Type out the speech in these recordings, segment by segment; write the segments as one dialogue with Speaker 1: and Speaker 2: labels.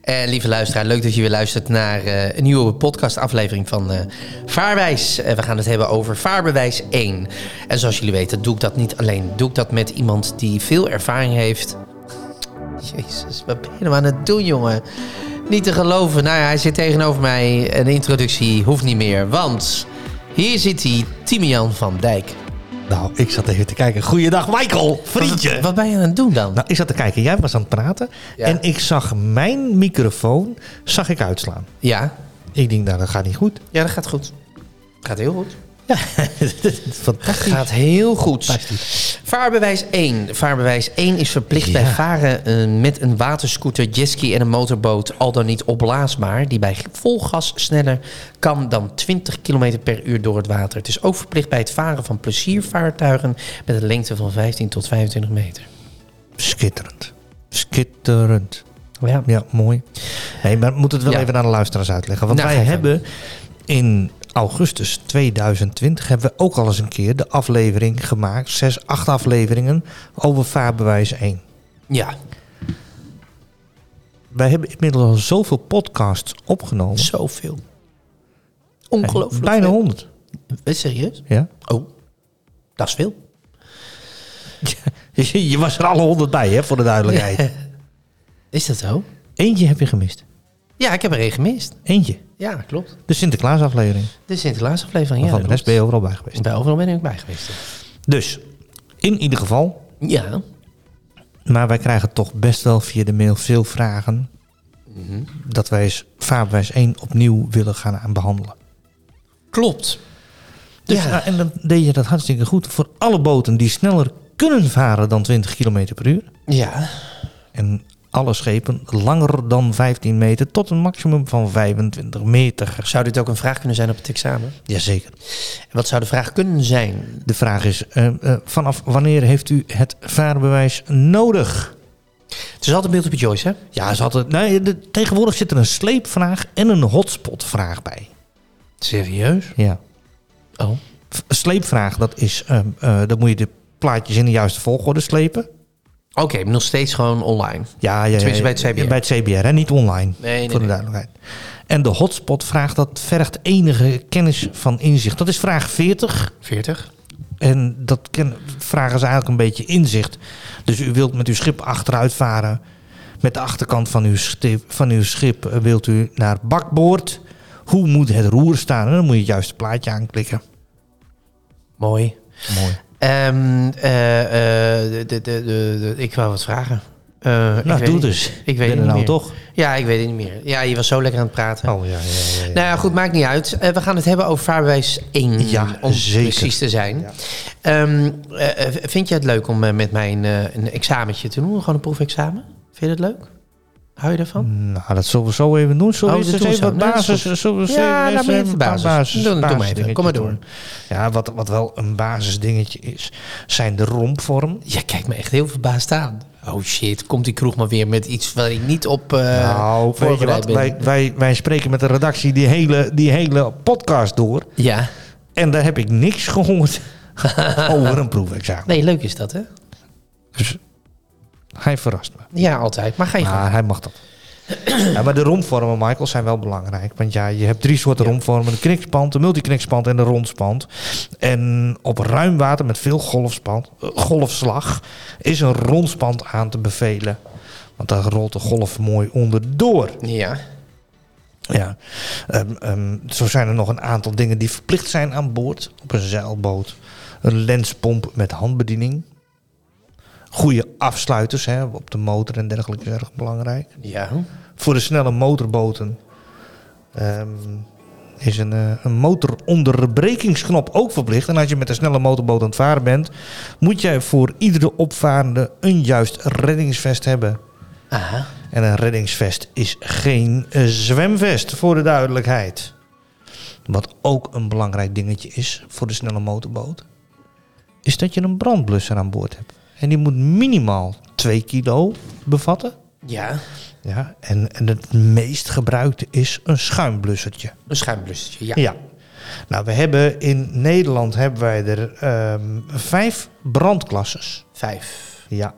Speaker 1: En lieve luisteraar, leuk dat je weer luistert naar eh, een nieuwe podcastaflevering van eh, Vaarwijs. Eh, we gaan het hebben over vaarbewijs 1. En zoals jullie weten doe ik dat niet alleen. Doe ik dat met iemand die veel ervaring heeft. Jezus, wat ben je nou aan het doen, jongen? Niet te geloven. Nou ja, hij zit tegenover mij. Een introductie hoeft niet meer, want hier zit hij, Timian van Dijk.
Speaker 2: Nou, ik zat even te kijken. Goeiedag, Michael, vriendje.
Speaker 1: Wat, wat ben je aan het doen dan?
Speaker 2: Nou, ik zat te kijken. Jij was aan het praten.
Speaker 1: Ja.
Speaker 2: En ik zag mijn microfoon zag ik uitslaan.
Speaker 1: Ja.
Speaker 2: Ik denk, nou, dat gaat niet goed.
Speaker 1: ja, dat gaat goed. Gaat heel goed.
Speaker 2: Ja, fantastisch.
Speaker 1: Gaat heel goed.
Speaker 2: Fantastisch.
Speaker 1: Vaarbewijs 1. Vaarbewijs 1 is verplicht bij
Speaker 2: Ja.
Speaker 1: varen eh, met een waterscooter, jetski en een motorboot, al dan niet opblaasbaar, die bij vol gas sneller kan dan 20 km per uur door het water. Het is ook verplicht bij het varen van pleziervaartuigen met een lengte van 15 tot 25 meter.
Speaker 2: Schitterend. Schitterend.
Speaker 1: Oh Ja.
Speaker 2: Ja, mooi. Hey, maar moet het wel
Speaker 1: Ja.
Speaker 2: even aan de luisteraars uitleggen. Want
Speaker 1: Nou,
Speaker 2: wij
Speaker 1: ga je
Speaker 2: hebben in augustus 2020 hebben we ook al eens een keer de aflevering gemaakt. Zes, acht afleveringen over vaarbewijs 1.
Speaker 1: ja,
Speaker 2: Wij hebben inmiddels al zoveel podcasts opgenomen.
Speaker 1: zoveel. Ongelooflijk.
Speaker 2: Bijna
Speaker 1: veel.
Speaker 2: 100.
Speaker 1: Eh, Serieus?
Speaker 2: Ja.
Speaker 1: Oh, dat is veel.
Speaker 2: Je was er alle 100 bij, hè, voor de duidelijkheid.
Speaker 1: Is dat zo?
Speaker 2: Eentje heb je gemist.
Speaker 1: Ja, ik heb er één gemist.
Speaker 2: Eentje.
Speaker 1: Ja, klopt.
Speaker 2: De Sinterklaasaflevering.
Speaker 1: Dit is in de laatste aflevering. Ja,
Speaker 2: van de rest ben je overal bij geweest.
Speaker 1: Bij overal ben ik bij geweest.
Speaker 2: Dus, in ieder geval.
Speaker 1: Ja.
Speaker 2: Maar wij krijgen toch best wel via de mail veel vragen. Dat wij eens Vaarbewijs 1 opnieuw willen gaan aan behandelen.
Speaker 1: Klopt. ah,
Speaker 2: Dus,
Speaker 1: Ja.
Speaker 2: nou, en dan deed je dat hartstikke goed. Voor alle boten die sneller kunnen varen dan 20 km per uur.
Speaker 1: Ja.
Speaker 2: En alle schepen langer dan 15 meter tot een maximum van 25 meter.
Speaker 1: Zou dit ook een vraag kunnen zijn op het examen?
Speaker 2: Jazeker.
Speaker 1: Wat zou de vraag kunnen zijn?
Speaker 2: De vraag is, eh, eh, vanaf wanneer heeft u het vaarbewijs nodig? Nou,
Speaker 1: Het is altijd beeld op Joyce, hè?
Speaker 2: Ja, is altijd, nee, de- tegenwoordig zit er een sleepvraag en een hotspotvraag bij.
Speaker 1: Serieus?
Speaker 2: Ja.
Speaker 1: Oh.
Speaker 2: V- Sleepvraag, dat is, ehm, eh, dan moet je de plaatjes in de juiste volgorde slepen.
Speaker 1: Oké, maar nog steeds gewoon online.
Speaker 2: Ja, ja, ja,
Speaker 1: Tenminste, bij het CBR.
Speaker 2: Bij het CBR, hè? niet online,
Speaker 1: Nee, nee,
Speaker 2: voor de
Speaker 1: nee.
Speaker 2: duidelijkheid. En de hotspotvraag, dat vergt enige kennis van inzicht. Dat is vraag 40.
Speaker 1: 40.
Speaker 2: En dat ken, vragen ze eigenlijk een beetje inzicht. Dus u wilt met uw schip achteruit varen. Met de achterkant van uw schip, van uw schip eh, wilt u naar bakboord. Hoe moet het roer staan? En dan moet je het juiste plaatje aanklikken.
Speaker 1: Mooi.
Speaker 2: Mooi.
Speaker 1: Ehm, eh, eh, de, de, de, de- ik wou wat vragen. Eh, ik
Speaker 2: Nou,
Speaker 1: weet
Speaker 2: doe
Speaker 1: niet.
Speaker 2: dus.
Speaker 1: Ik weet
Speaker 2: Ben er
Speaker 1: het niet
Speaker 2: nou
Speaker 1: meer.
Speaker 2: toch?
Speaker 1: Ja, ik weet het niet meer. Ja, je was zo lekker aan het praten.
Speaker 2: Oh ja, ja, ja. ja.
Speaker 1: Nou ja, goed, maakt niet uit. Eh, we gaan het hebben over vaarbewijs 1,
Speaker 2: Ja,
Speaker 1: om
Speaker 2: zeker.
Speaker 1: precies te zijn. Ehm, eh, eh, vind je het leuk om eh, met mij een, eh, een examentje te doen? Gewoon een proefexamen? Vind je dat leuk? Hou je daarvan?
Speaker 2: Nou, dat zullen we zo even doen. Zullen
Speaker 1: Oh,
Speaker 2: we
Speaker 1: dat
Speaker 2: eens
Speaker 1: doen we
Speaker 2: even
Speaker 1: zo.
Speaker 2: wat
Speaker 1: Nee, dat is
Speaker 2: basis... zullen we eens
Speaker 1: Ja,
Speaker 2: even
Speaker 1: laat me
Speaker 2: een
Speaker 1: even
Speaker 2: paar
Speaker 1: basis. Doe- doe maar even.
Speaker 2: basisdingetjes
Speaker 1: Kom maar door.
Speaker 2: doen? Ja, wat, wat wel een basisdingetje is, zijn de rompvorm.
Speaker 1: Jij kijkt me echt heel verbaasd aan. Oh shit, komt die kroeg maar weer met iets waar ik niet op eh
Speaker 2: nou, weet je
Speaker 1: voorbereid
Speaker 2: wat?
Speaker 1: ben.
Speaker 2: Wij, wij, wij spreken met de redactie die hele, die hele podcast door.
Speaker 1: Ja.
Speaker 2: En daar heb ik niks gehoord over een proefexamen.
Speaker 1: Nee, leuk is dat, hè?
Speaker 2: Dus hij verrast me.
Speaker 1: Ja, altijd. Maar ga je gang.
Speaker 2: Maar hij mag dat. Ja, maar de rompvormen, Michael, zijn wel belangrijk. Want ja, je hebt drie soorten rompvormen. Een knikspand, een multiknikspand en een rondspand. En op ruim water met veel golfspand, eh, golfslag is een rondspand aan te bevelen. Want daar rolt de golf mooi onderdoor.
Speaker 1: Ja.
Speaker 2: Ja. Ehm, ehm, zo zijn er nog een aantal dingen die verplicht zijn aan boord. Op een zeilboot. Een lenspomp met handbediening. Goede afsluiters hè, op de motor en dergelijke is erg belangrijk.
Speaker 1: Ja.
Speaker 2: Voor de snelle motorboten ehm, is een, eh, een motoronderbrekingsknop ook verplicht. En als je met een snelle motorboot aan het varen bent, moet jij voor iedere opvarende een juist reddingsvest hebben.
Speaker 1: Aha.
Speaker 2: En een reddingsvest is geen eh, zwemvest, voor de duidelijkheid. Wat ook een belangrijk dingetje is voor de snelle motorboot, is dat je een brandblusser aan boord hebt. En die moet minimaal 2 kilo bevatten.
Speaker 1: Ja,
Speaker 2: Ja, en, en het meest gebruikte is een schuimblussertje.
Speaker 1: een schuimblusje. Ja.
Speaker 2: Ja. Nou, we hebben in Nederland hebben wij er ehm, vijf brandklasses.
Speaker 1: Vijf.
Speaker 2: Ja.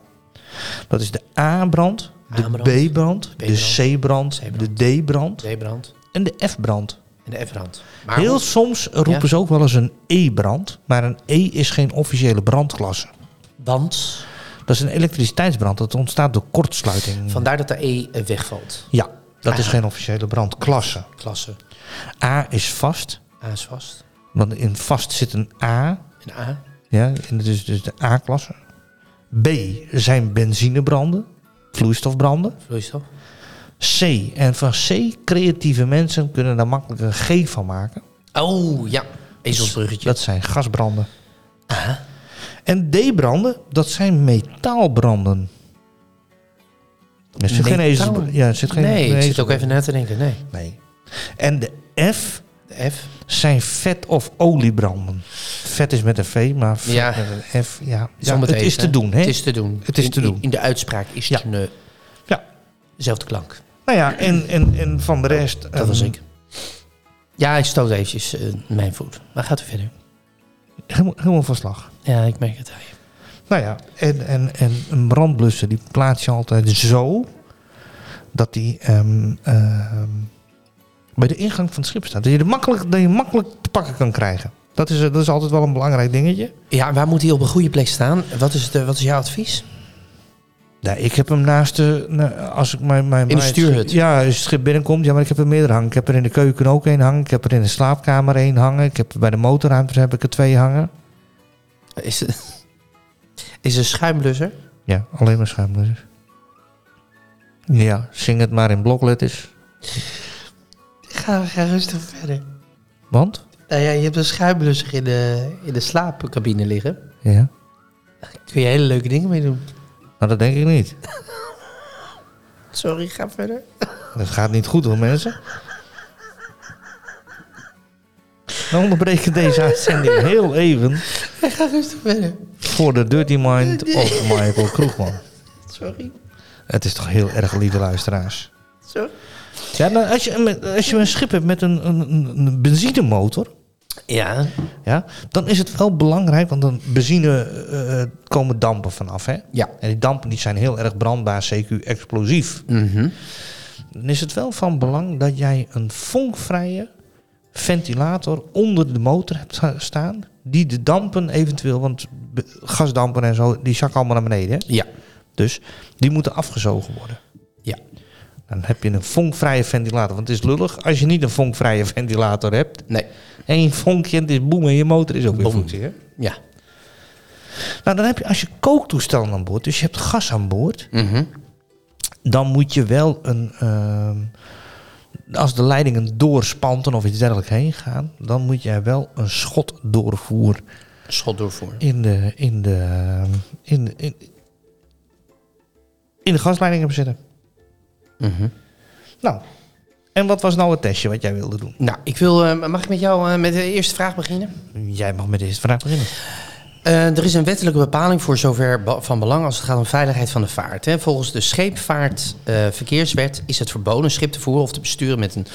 Speaker 2: Dat is de A-brand, de
Speaker 1: A-brand,
Speaker 2: B-brand, de C-brand,
Speaker 1: C-brand.
Speaker 2: de D-brand
Speaker 1: Zeebrand
Speaker 2: en de F-brand.
Speaker 1: en de Everhand. Maar
Speaker 2: Heel soms roepen
Speaker 1: Ja.
Speaker 2: ze ook wel eens een E-brand, maar een E is geen officiële brandklasse.
Speaker 1: Want
Speaker 2: Dat is een elektriciteitsbrand, dat ontstaat door kortsluiting.
Speaker 1: vandaar dat de E wegvalt.
Speaker 2: Ja, dat is
Speaker 1: Ah.
Speaker 2: geen officiële brandklasse.
Speaker 1: Klasse.
Speaker 2: A is vast,
Speaker 1: A is vast.
Speaker 2: want in vast zit een A,
Speaker 1: En A.
Speaker 2: Ja, en dat is dus de A-klasse. B zijn benzinebranden, vloeistofbranden.
Speaker 1: Vloeistof.
Speaker 2: C, en van C creatieve mensen kunnen daar makkelijk een G van maken.
Speaker 1: Oh, ja. Ezelsbruggetje.
Speaker 2: Dat zijn gasbranden. En D-branden, dat zijn metaalbranden. Er zit geen
Speaker 1: Metaal?
Speaker 2: ezelsbr- Ja, er zit geen
Speaker 1: nee, ik
Speaker 2: geen
Speaker 1: zit ook even na te denken. Nee.
Speaker 2: ezelsbr- Nee. En de F
Speaker 1: De F.
Speaker 2: zijn vet- of oliebranden. Vet is met een V, maar vet
Speaker 1: Ja.
Speaker 2: met een F, ja. ja
Speaker 1: Zometeen,
Speaker 2: het is
Speaker 1: hè?
Speaker 2: te doen, hè?
Speaker 1: Het is te doen.
Speaker 2: Het is
Speaker 1: In-
Speaker 2: te
Speaker 1: in-
Speaker 2: doen.
Speaker 1: In, de uitspraak is
Speaker 2: Ja.
Speaker 1: het een eh,
Speaker 2: Ja.
Speaker 1: dezelfde klank.
Speaker 2: Nou ja, en, en, en van de rest. ehm,
Speaker 1: Dat was ik. Ja, ik stoot eventjes eh, mijn voet. Maar gaat u verder?
Speaker 2: Helemaal, helemaal van slag.
Speaker 1: Ja, ik merk het aan je.
Speaker 2: Nou ja, en, en, en een brandblusser die plaats je altijd zo dat die ehm, ehm, bij de ingang van het schip staat. Dat je, er makkelijk, dat je makkelijk te pakken kan krijgen. Dat is, eh, dat is altijd wel een belangrijk dingetje.
Speaker 1: Ja, waar moet hij op een goede plek staan? Wat is, de, wat is jouw advies?
Speaker 2: Nou, ik heb hem naast de. na- als ik mijn, mijn,
Speaker 1: In de
Speaker 2: mijn-
Speaker 1: stuurhut?
Speaker 2: Ja, als het schip binnenkomt. Ja, maar ik heb er meerdere hangen. Ik heb er in de keuken ook één hangen. Ik heb er in de slaapkamer één hangen. Ik heb bij de motorruimte heb ik er twee hangen.
Speaker 1: Is, is een schuimblusser?
Speaker 2: Ja, alleen maar schuimblussers. Ja, zing het maar in blokletters.
Speaker 3: Ga, ga rustig verder.
Speaker 2: Want?
Speaker 3: Nou ja, je hebt een schuimblusser in de, in de slaapcabine liggen.
Speaker 2: Ja.
Speaker 3: Daar kun je hele leuke dingen mee doen.
Speaker 2: Nou, dat denk ik niet.
Speaker 3: Sorry, ga verder.
Speaker 2: Dat gaat niet goed hoor, mensen. Dan onderbreek ik deze uitzending heel even
Speaker 3: Ga rustig verder.
Speaker 2: voor de dirty mind of Michael Kroegman.
Speaker 3: Sorry.
Speaker 2: Het is toch heel erg, lieve luisteraars.
Speaker 3: Sorry.
Speaker 2: Ja, nou, als, je, een- als je een schip hebt met een, een, een- een benzinemotor,
Speaker 1: Ja.
Speaker 2: ja, dan is het wel belangrijk, want dan benzine eh, eh, komen dampen vanaf. Hè?
Speaker 1: Ja.
Speaker 2: En die dampen die zijn heel erg brandbaar, CQ explosief.
Speaker 1: Mhm.
Speaker 2: Dan is het wel van belang dat jij een vonkvrije ventilator onder de motor hebt sta- staan. Die de dampen eventueel, want be- gasdampen en zo, die zakken allemaal naar beneden. Hè?
Speaker 1: Ja.
Speaker 2: Dus die moeten afgezogen worden.
Speaker 1: Ja.
Speaker 2: Dan heb je een vonkvrije ventilator. Want het is lullig als je niet een vonkvrije ventilator hebt.
Speaker 1: Nee.
Speaker 2: Eén vonkje en het is boem en je motor is ook weer
Speaker 1: Bom.
Speaker 2: functie. Hè?
Speaker 1: Ja.
Speaker 2: Nou, dan heb je als je kooktoestellen aan boord, dus je hebt gas aan boord,
Speaker 1: Mhm.
Speaker 2: dan moet je wel een. ehm, als de leidingen door spanten of iets dergelijks heen gaan, dan moet jij wel een schot doorvoer
Speaker 1: Schot doorvoer.
Speaker 2: in de. in de. ehm, in de, in, in de gasleiding hebben zitten.
Speaker 1: Mhm.
Speaker 2: Nou, en wat was nou het testje wat jij wilde doen?
Speaker 1: Nou, ik wil, eh, mag ik met jou eh, met de eerste vraag beginnen?
Speaker 2: Jij mag met deze vraag beginnen.
Speaker 1: Eh, er is een wettelijke bepaling voor zover ba- van belang als het gaat om veiligheid van de vaart. Hè. Volgens de scheepvaartverkeerswet is het verboden een schip te voeren of te besturen met een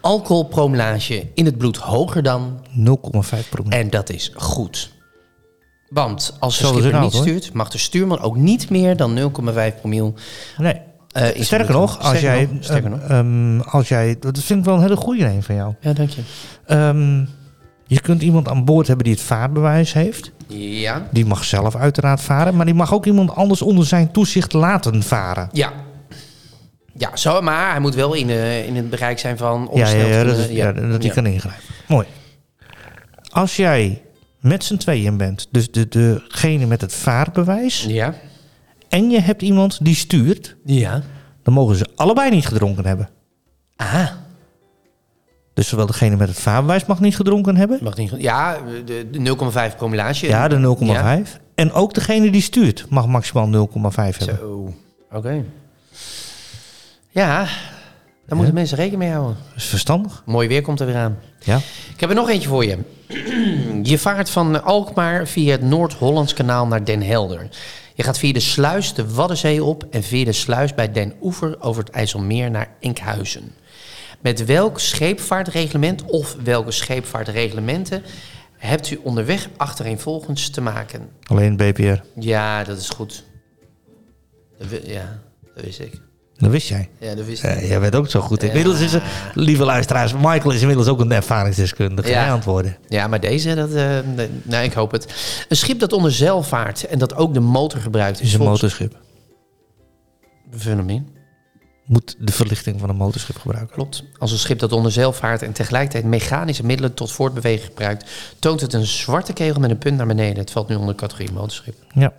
Speaker 1: alcoholpromillage in het bloed hoger dan.
Speaker 2: 0,5 promille.
Speaker 1: En dat is goed. Want als de
Speaker 2: Zo is het
Speaker 1: schipper
Speaker 2: nou,
Speaker 1: niet
Speaker 2: hoor.
Speaker 1: stuurt, mag de stuurman ook niet meer dan 0,5 promiel.
Speaker 2: Nee.
Speaker 1: eh, in zijn
Speaker 2: Sterker
Speaker 1: bloed
Speaker 2: nog,
Speaker 1: doen.
Speaker 2: als
Speaker 1: Sterker
Speaker 2: jij,
Speaker 1: nog, sterker
Speaker 2: ehm,
Speaker 1: nog.
Speaker 2: ehm, als jij, dat vind ik wel een hele goede een van jou.
Speaker 1: Ja, dank je.
Speaker 2: Ehm, je kunt iemand aan boord hebben die het vaartbewijs heeft.
Speaker 1: Ja.
Speaker 2: Die mag zelf uiteraard varen, maar die mag ook iemand anders onder zijn toezicht laten varen.
Speaker 1: Ja. Ja, zo, maar hij moet wel in, eh, in het bereik zijn van
Speaker 2: Ja, ja,
Speaker 1: onbesneld
Speaker 2: ja, dat,
Speaker 1: kunnen-
Speaker 2: is, ja, dat die
Speaker 1: ja.
Speaker 2: kan ingrijpen. Mooi. Als jij met z'n tweeën bent, dus de, degene met het vaartbewijs,
Speaker 1: Ja.
Speaker 2: en je hebt iemand die stuurt,
Speaker 1: Ja.
Speaker 2: dan mogen ze allebei niet gedronken hebben.
Speaker 1: Ah.
Speaker 2: Dus zowel degene met het vaarbewijs mag niet gedronken hebben,
Speaker 1: Mag niet, ja, de, de 0,5 promillage.
Speaker 2: ja, de 0,5.
Speaker 1: Ja.
Speaker 2: En ook degene die stuurt mag maximaal 0,5 hebben.
Speaker 1: Zo. Oké.
Speaker 3: Ja, daar moeten mensen rekening mee houden.
Speaker 2: Dat is verstandig.
Speaker 3: Mooi weer komt er weer aan.
Speaker 2: Ja.
Speaker 1: Ik heb er nog eentje voor je. Je vaart van Alkmaar via het Noord-Hollands kanaal naar Den Helder. Je gaat via de sluis de Waddenzee op en via de sluis bij Den Oever over het IJsselmeer naar Enkhuizen. Met welk scheepvaartreglement of welke scheepvaartreglementen hebt u onderweg achtereenvolgens te maken?
Speaker 2: Alleen BPR.
Speaker 1: Ja, dat is goed. Dat wi- ja, dat wist ik.
Speaker 2: Dat wist jij.
Speaker 1: Ja, dat wist ik.
Speaker 2: Eh, jij bent ook zo goed. Inmiddels is er, lieve luisteraars, Michael is inmiddels ook een ervaringsdeskundige.
Speaker 1: Ja.
Speaker 2: Hij antwoorden.
Speaker 1: Ja, maar deze, dat, eh, nee, nou, ik hoop het. Een schip dat onder zeil vaart en dat ook de motor gebruikt.
Speaker 2: Het is een
Speaker 1: volgens-
Speaker 2: motorschip.
Speaker 1: fenomeen.
Speaker 2: Moet de verlichting van een motorschip gebruiken.
Speaker 1: Klopt. Als een schip dat onder zeil vaart en tegelijkertijd mechanische middelen tot voortbewegen gebruikt, toont het een zwarte kegel met een punt naar beneden. Het valt nu onder de categorie motorschip.
Speaker 2: Ja.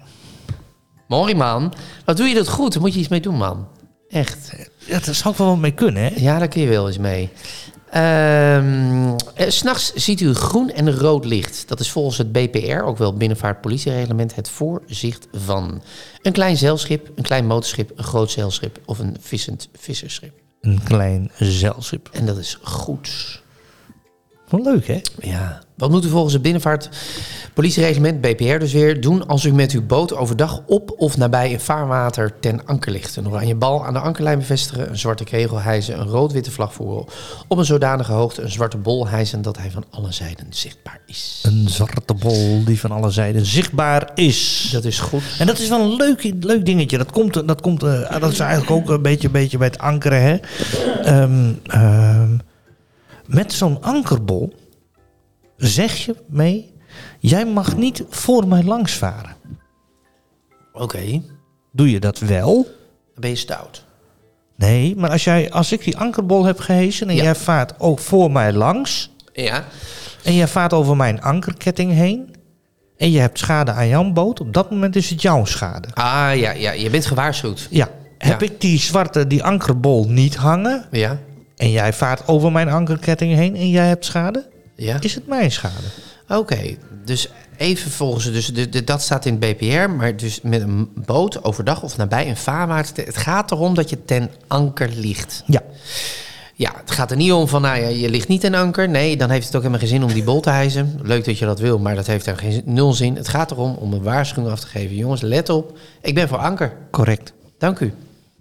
Speaker 1: Mori man, wat doe je dat goed? Daar moet je iets mee doen, man. Echt.
Speaker 2: ja. Daar zou ik wel wat mee kunnen, hè?
Speaker 1: Ja, daar kun je wel eens mee. Ehm, eh, S S'nachts ziet u groen en rood licht. Dat is volgens het BPR, ook wel binnenvaartpolitiereglement, het voorzicht van een klein zeilschip, een klein motorschip, een groot zeilschip of een vissend visserschip.
Speaker 2: Een klein zeilschip.
Speaker 1: En dat is goed.
Speaker 2: Wat leuk, hè?
Speaker 1: Ja. Wat moet u volgens het binnenvaartpolitiereglement, BPR dus weer, doen als u met uw boot overdag op of nabij een vaarwater ten anker ligt? Een oranje bal aan de ankerlijn bevestigen, een zwarte kegel hijsen, een rood-witte vlag voeren. Op een zodanige hoogte een zwarte bol hijsen dat hij van alle zijden zichtbaar is.
Speaker 2: Een zwarte bol die van alle zijden zichtbaar is.
Speaker 1: Dat is goed.
Speaker 2: En dat is wel een leuk, leuk dingetje. Dat, komt, dat, komt, eh, dat is eigenlijk ook een beetje, beetje bij het ankeren. Hè? Ehm, ehm, met zo'n ankerbol zeg je mee... jij mag niet voor mij langs varen.
Speaker 1: Oké,
Speaker 2: Doe je dat wel?
Speaker 1: dan ben je stout.
Speaker 2: Nee, maar als, jij, als ik die ankerbol heb gehesen... en
Speaker 1: Ja.
Speaker 2: jij vaart ook voor mij langs...
Speaker 1: Ja.
Speaker 2: en jij vaart over mijn ankerketting heen... en je hebt schade aan jouw boot... op dat moment is het jouw schade.
Speaker 1: Ah ja, ja, je bent gewaarschuwd.
Speaker 2: Ja, heb ik die zwarte, die ankerbol niet hangen...
Speaker 1: Ja.
Speaker 2: En jij vaart over mijn ankerketting heen en jij hebt schade?
Speaker 1: Ja.
Speaker 2: Is het mijn schade?
Speaker 1: Oké, dus even volgens, dus de, de- dat staat in het BPR, maar dus met een boot overdag of nabij een vaarwater. Het gaat erom dat je ten anker ligt.
Speaker 2: Ja.
Speaker 1: Ja, het gaat er niet om van, nou ja, je ligt niet ten anker. Nee, dan heeft het ook helemaal geen zin om die bol te hijsen. Leuk dat je dat wil, maar dat heeft daar geen zin- nul zin. Het gaat erom om een waarschuwing af te geven. Jongens, let op, ik ben voor anker.
Speaker 2: Correct.
Speaker 1: Dank u.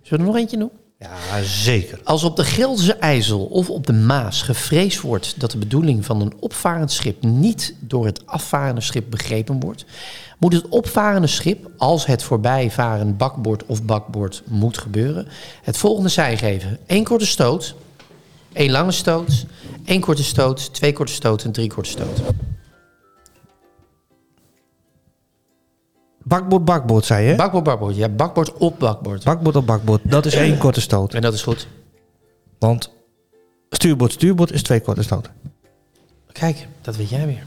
Speaker 1: Zullen we er nog eentje doen?
Speaker 2: Ja, zeker.
Speaker 1: Als op de Gelderse IJssel of op de Maas gevreesd wordt dat de bedoeling van een opvarend schip niet door het afvarende schip begrepen wordt, moet het opvarende schip, als het voorbijvarend bakbord of bakbord moet gebeuren, het volgende sein geven. Eén korte stoot, één lange stoot, één korte stoot, twee korte stoten, drie korte stoten.
Speaker 2: Bakboord, bakboord, zei je?
Speaker 1: Bakbord, bakbord, ja, bakbord op bakbord.
Speaker 2: bakboord op bakboord. Dat is één korte stoot.
Speaker 1: En dat is goed.
Speaker 2: Want stuurboord, stuurboord is twee korte stoten.
Speaker 1: Kijk, dat weet jij weer.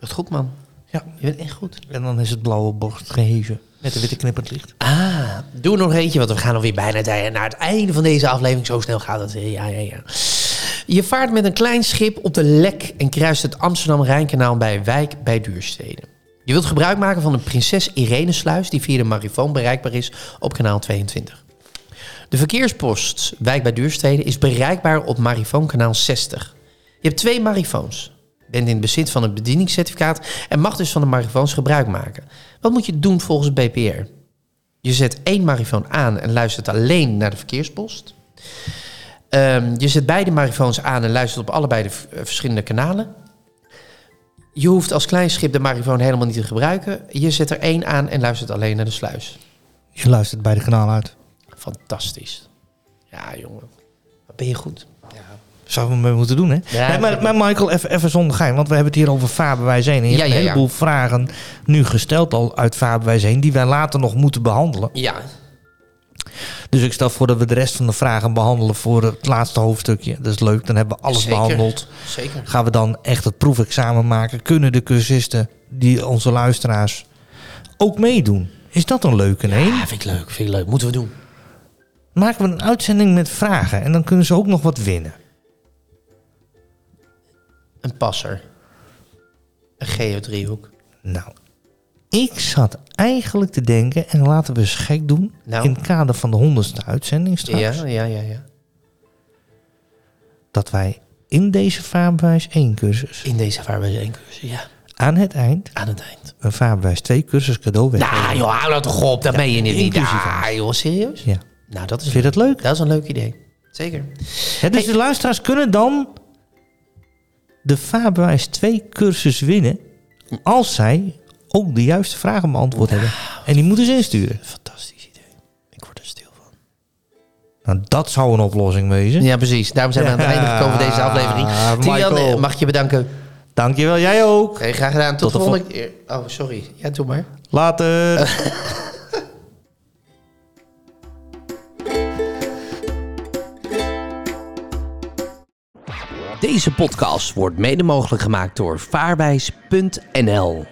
Speaker 1: Echt goed, man.
Speaker 2: Ja.
Speaker 1: Je bent echt goed.
Speaker 2: En dan is het blauwe borst geheven. Met een witte knippend licht.
Speaker 1: Ah, doe er nog eentje, want we gaan alweer bijna tij- naar het einde van deze aflevering. Zo snel gaat het. Ja, ja, ja. Je vaart met een klein schip op de Lek en kruist het Amsterdam-Rijnkanaal bij Wijk bij Duurstede. Je wilt gebruik maken van de Prinses Irene-sluis die via de Marifoon bereikbaar is op kanaal 22. De verkeerspost Wijk bij Duurstede is bereikbaar op Marifoonkanaal 60. Je hebt twee marifoons. Bent in bezit van een bedieningscertificaat en mag dus van de marifoons gebruik maken. Wat moet je doen volgens het BPR? Je zet één marifoon aan en luistert alleen naar de verkeerspost. Ehm, je zet beide marifoons aan en luistert op allebei de v- eh, verschillende kanalen. Je hoeft als klein schip de marifoon helemaal niet te gebruiken. Je zet er één aan en luistert alleen naar de sluis.
Speaker 2: Je luistert bij de kanaal uit.
Speaker 1: Fantastisch. Ja, jongen. Wat ben je goed.
Speaker 2: Zouden we mee moeten doen, hè?
Speaker 1: Ja, zeker.
Speaker 2: Nee, maar, maar Michael, even, even zonder gein. Want we hebben het hier over vaarbewijs 1. En je
Speaker 1: Ja,
Speaker 2: hebt
Speaker 1: ja,
Speaker 2: een
Speaker 1: ja.
Speaker 2: heleboel vragen nu gesteld al uit vaarbewijs 1... die wij later nog moeten behandelen.
Speaker 1: Ja,
Speaker 2: Dus ik stel voor dat we de rest van de vragen behandelen voor het laatste hoofdstukje. Dat is leuk, dan hebben we alles
Speaker 1: Zeker.
Speaker 2: behandeld.
Speaker 1: zeker.
Speaker 2: Gaan we dan echt het proefexamen maken? Kunnen de cursisten, die onze luisteraars, ook meedoen? Is dat een leuke? Nee?
Speaker 1: Ja, vind ik leuk. Vind ik leuk. Moeten we doen.
Speaker 2: Maken we een uitzending met vragen en dan kunnen ze ook nog wat winnen.
Speaker 1: Een passer. Een geodriehoek.
Speaker 2: Nou, Ik zat eigenlijk te denken, en laten we eens gek doen,
Speaker 1: Nou.
Speaker 2: in het kader van de honderdste uitzending straks,
Speaker 1: Ja, ja, ja, ja.
Speaker 2: dat wij in deze vaarbewijs 1 cursus
Speaker 1: In deze vaarbewijs één cursus, ja.
Speaker 2: aan het eind
Speaker 1: Aan het eind.
Speaker 2: een vaarbewijs 2 cursus cadeau weggeven.
Speaker 1: Nou joh, hou dat toch op. Dat meen je niet.
Speaker 2: inclusief
Speaker 1: Ja, joh, serieus?
Speaker 2: Ja.
Speaker 1: Nou, dat is
Speaker 2: Vind je dat leuk?
Speaker 1: Dat is een leuk idee. Zeker.
Speaker 2: Hè, dus de luisteraars kunnen dan de vaarbewijs 2 cursus winnen als zij ook de juiste vragen beantwoord hebben. En die moeten ze insturen.
Speaker 1: Fantastisch idee. Ik word er stil van.
Speaker 2: Nou, dat zou een oplossing wezen.
Speaker 1: Ja, precies. Daarom zijn we aan het
Speaker 2: Ja,
Speaker 1: einde gekomen van deze aflevering.
Speaker 2: Michael.
Speaker 1: Tian, eh, mag ik je bedanken.
Speaker 2: Dankjewel, jij ook.
Speaker 1: Hey, graag gedaan. Tot,
Speaker 2: Tot
Speaker 1: de
Speaker 2: de vol-
Speaker 1: volgende keer. Oh, sorry. Ja, doe maar.
Speaker 2: Later.
Speaker 4: Deze podcast wordt mede mogelijk gemaakt door vaarwijs.nl.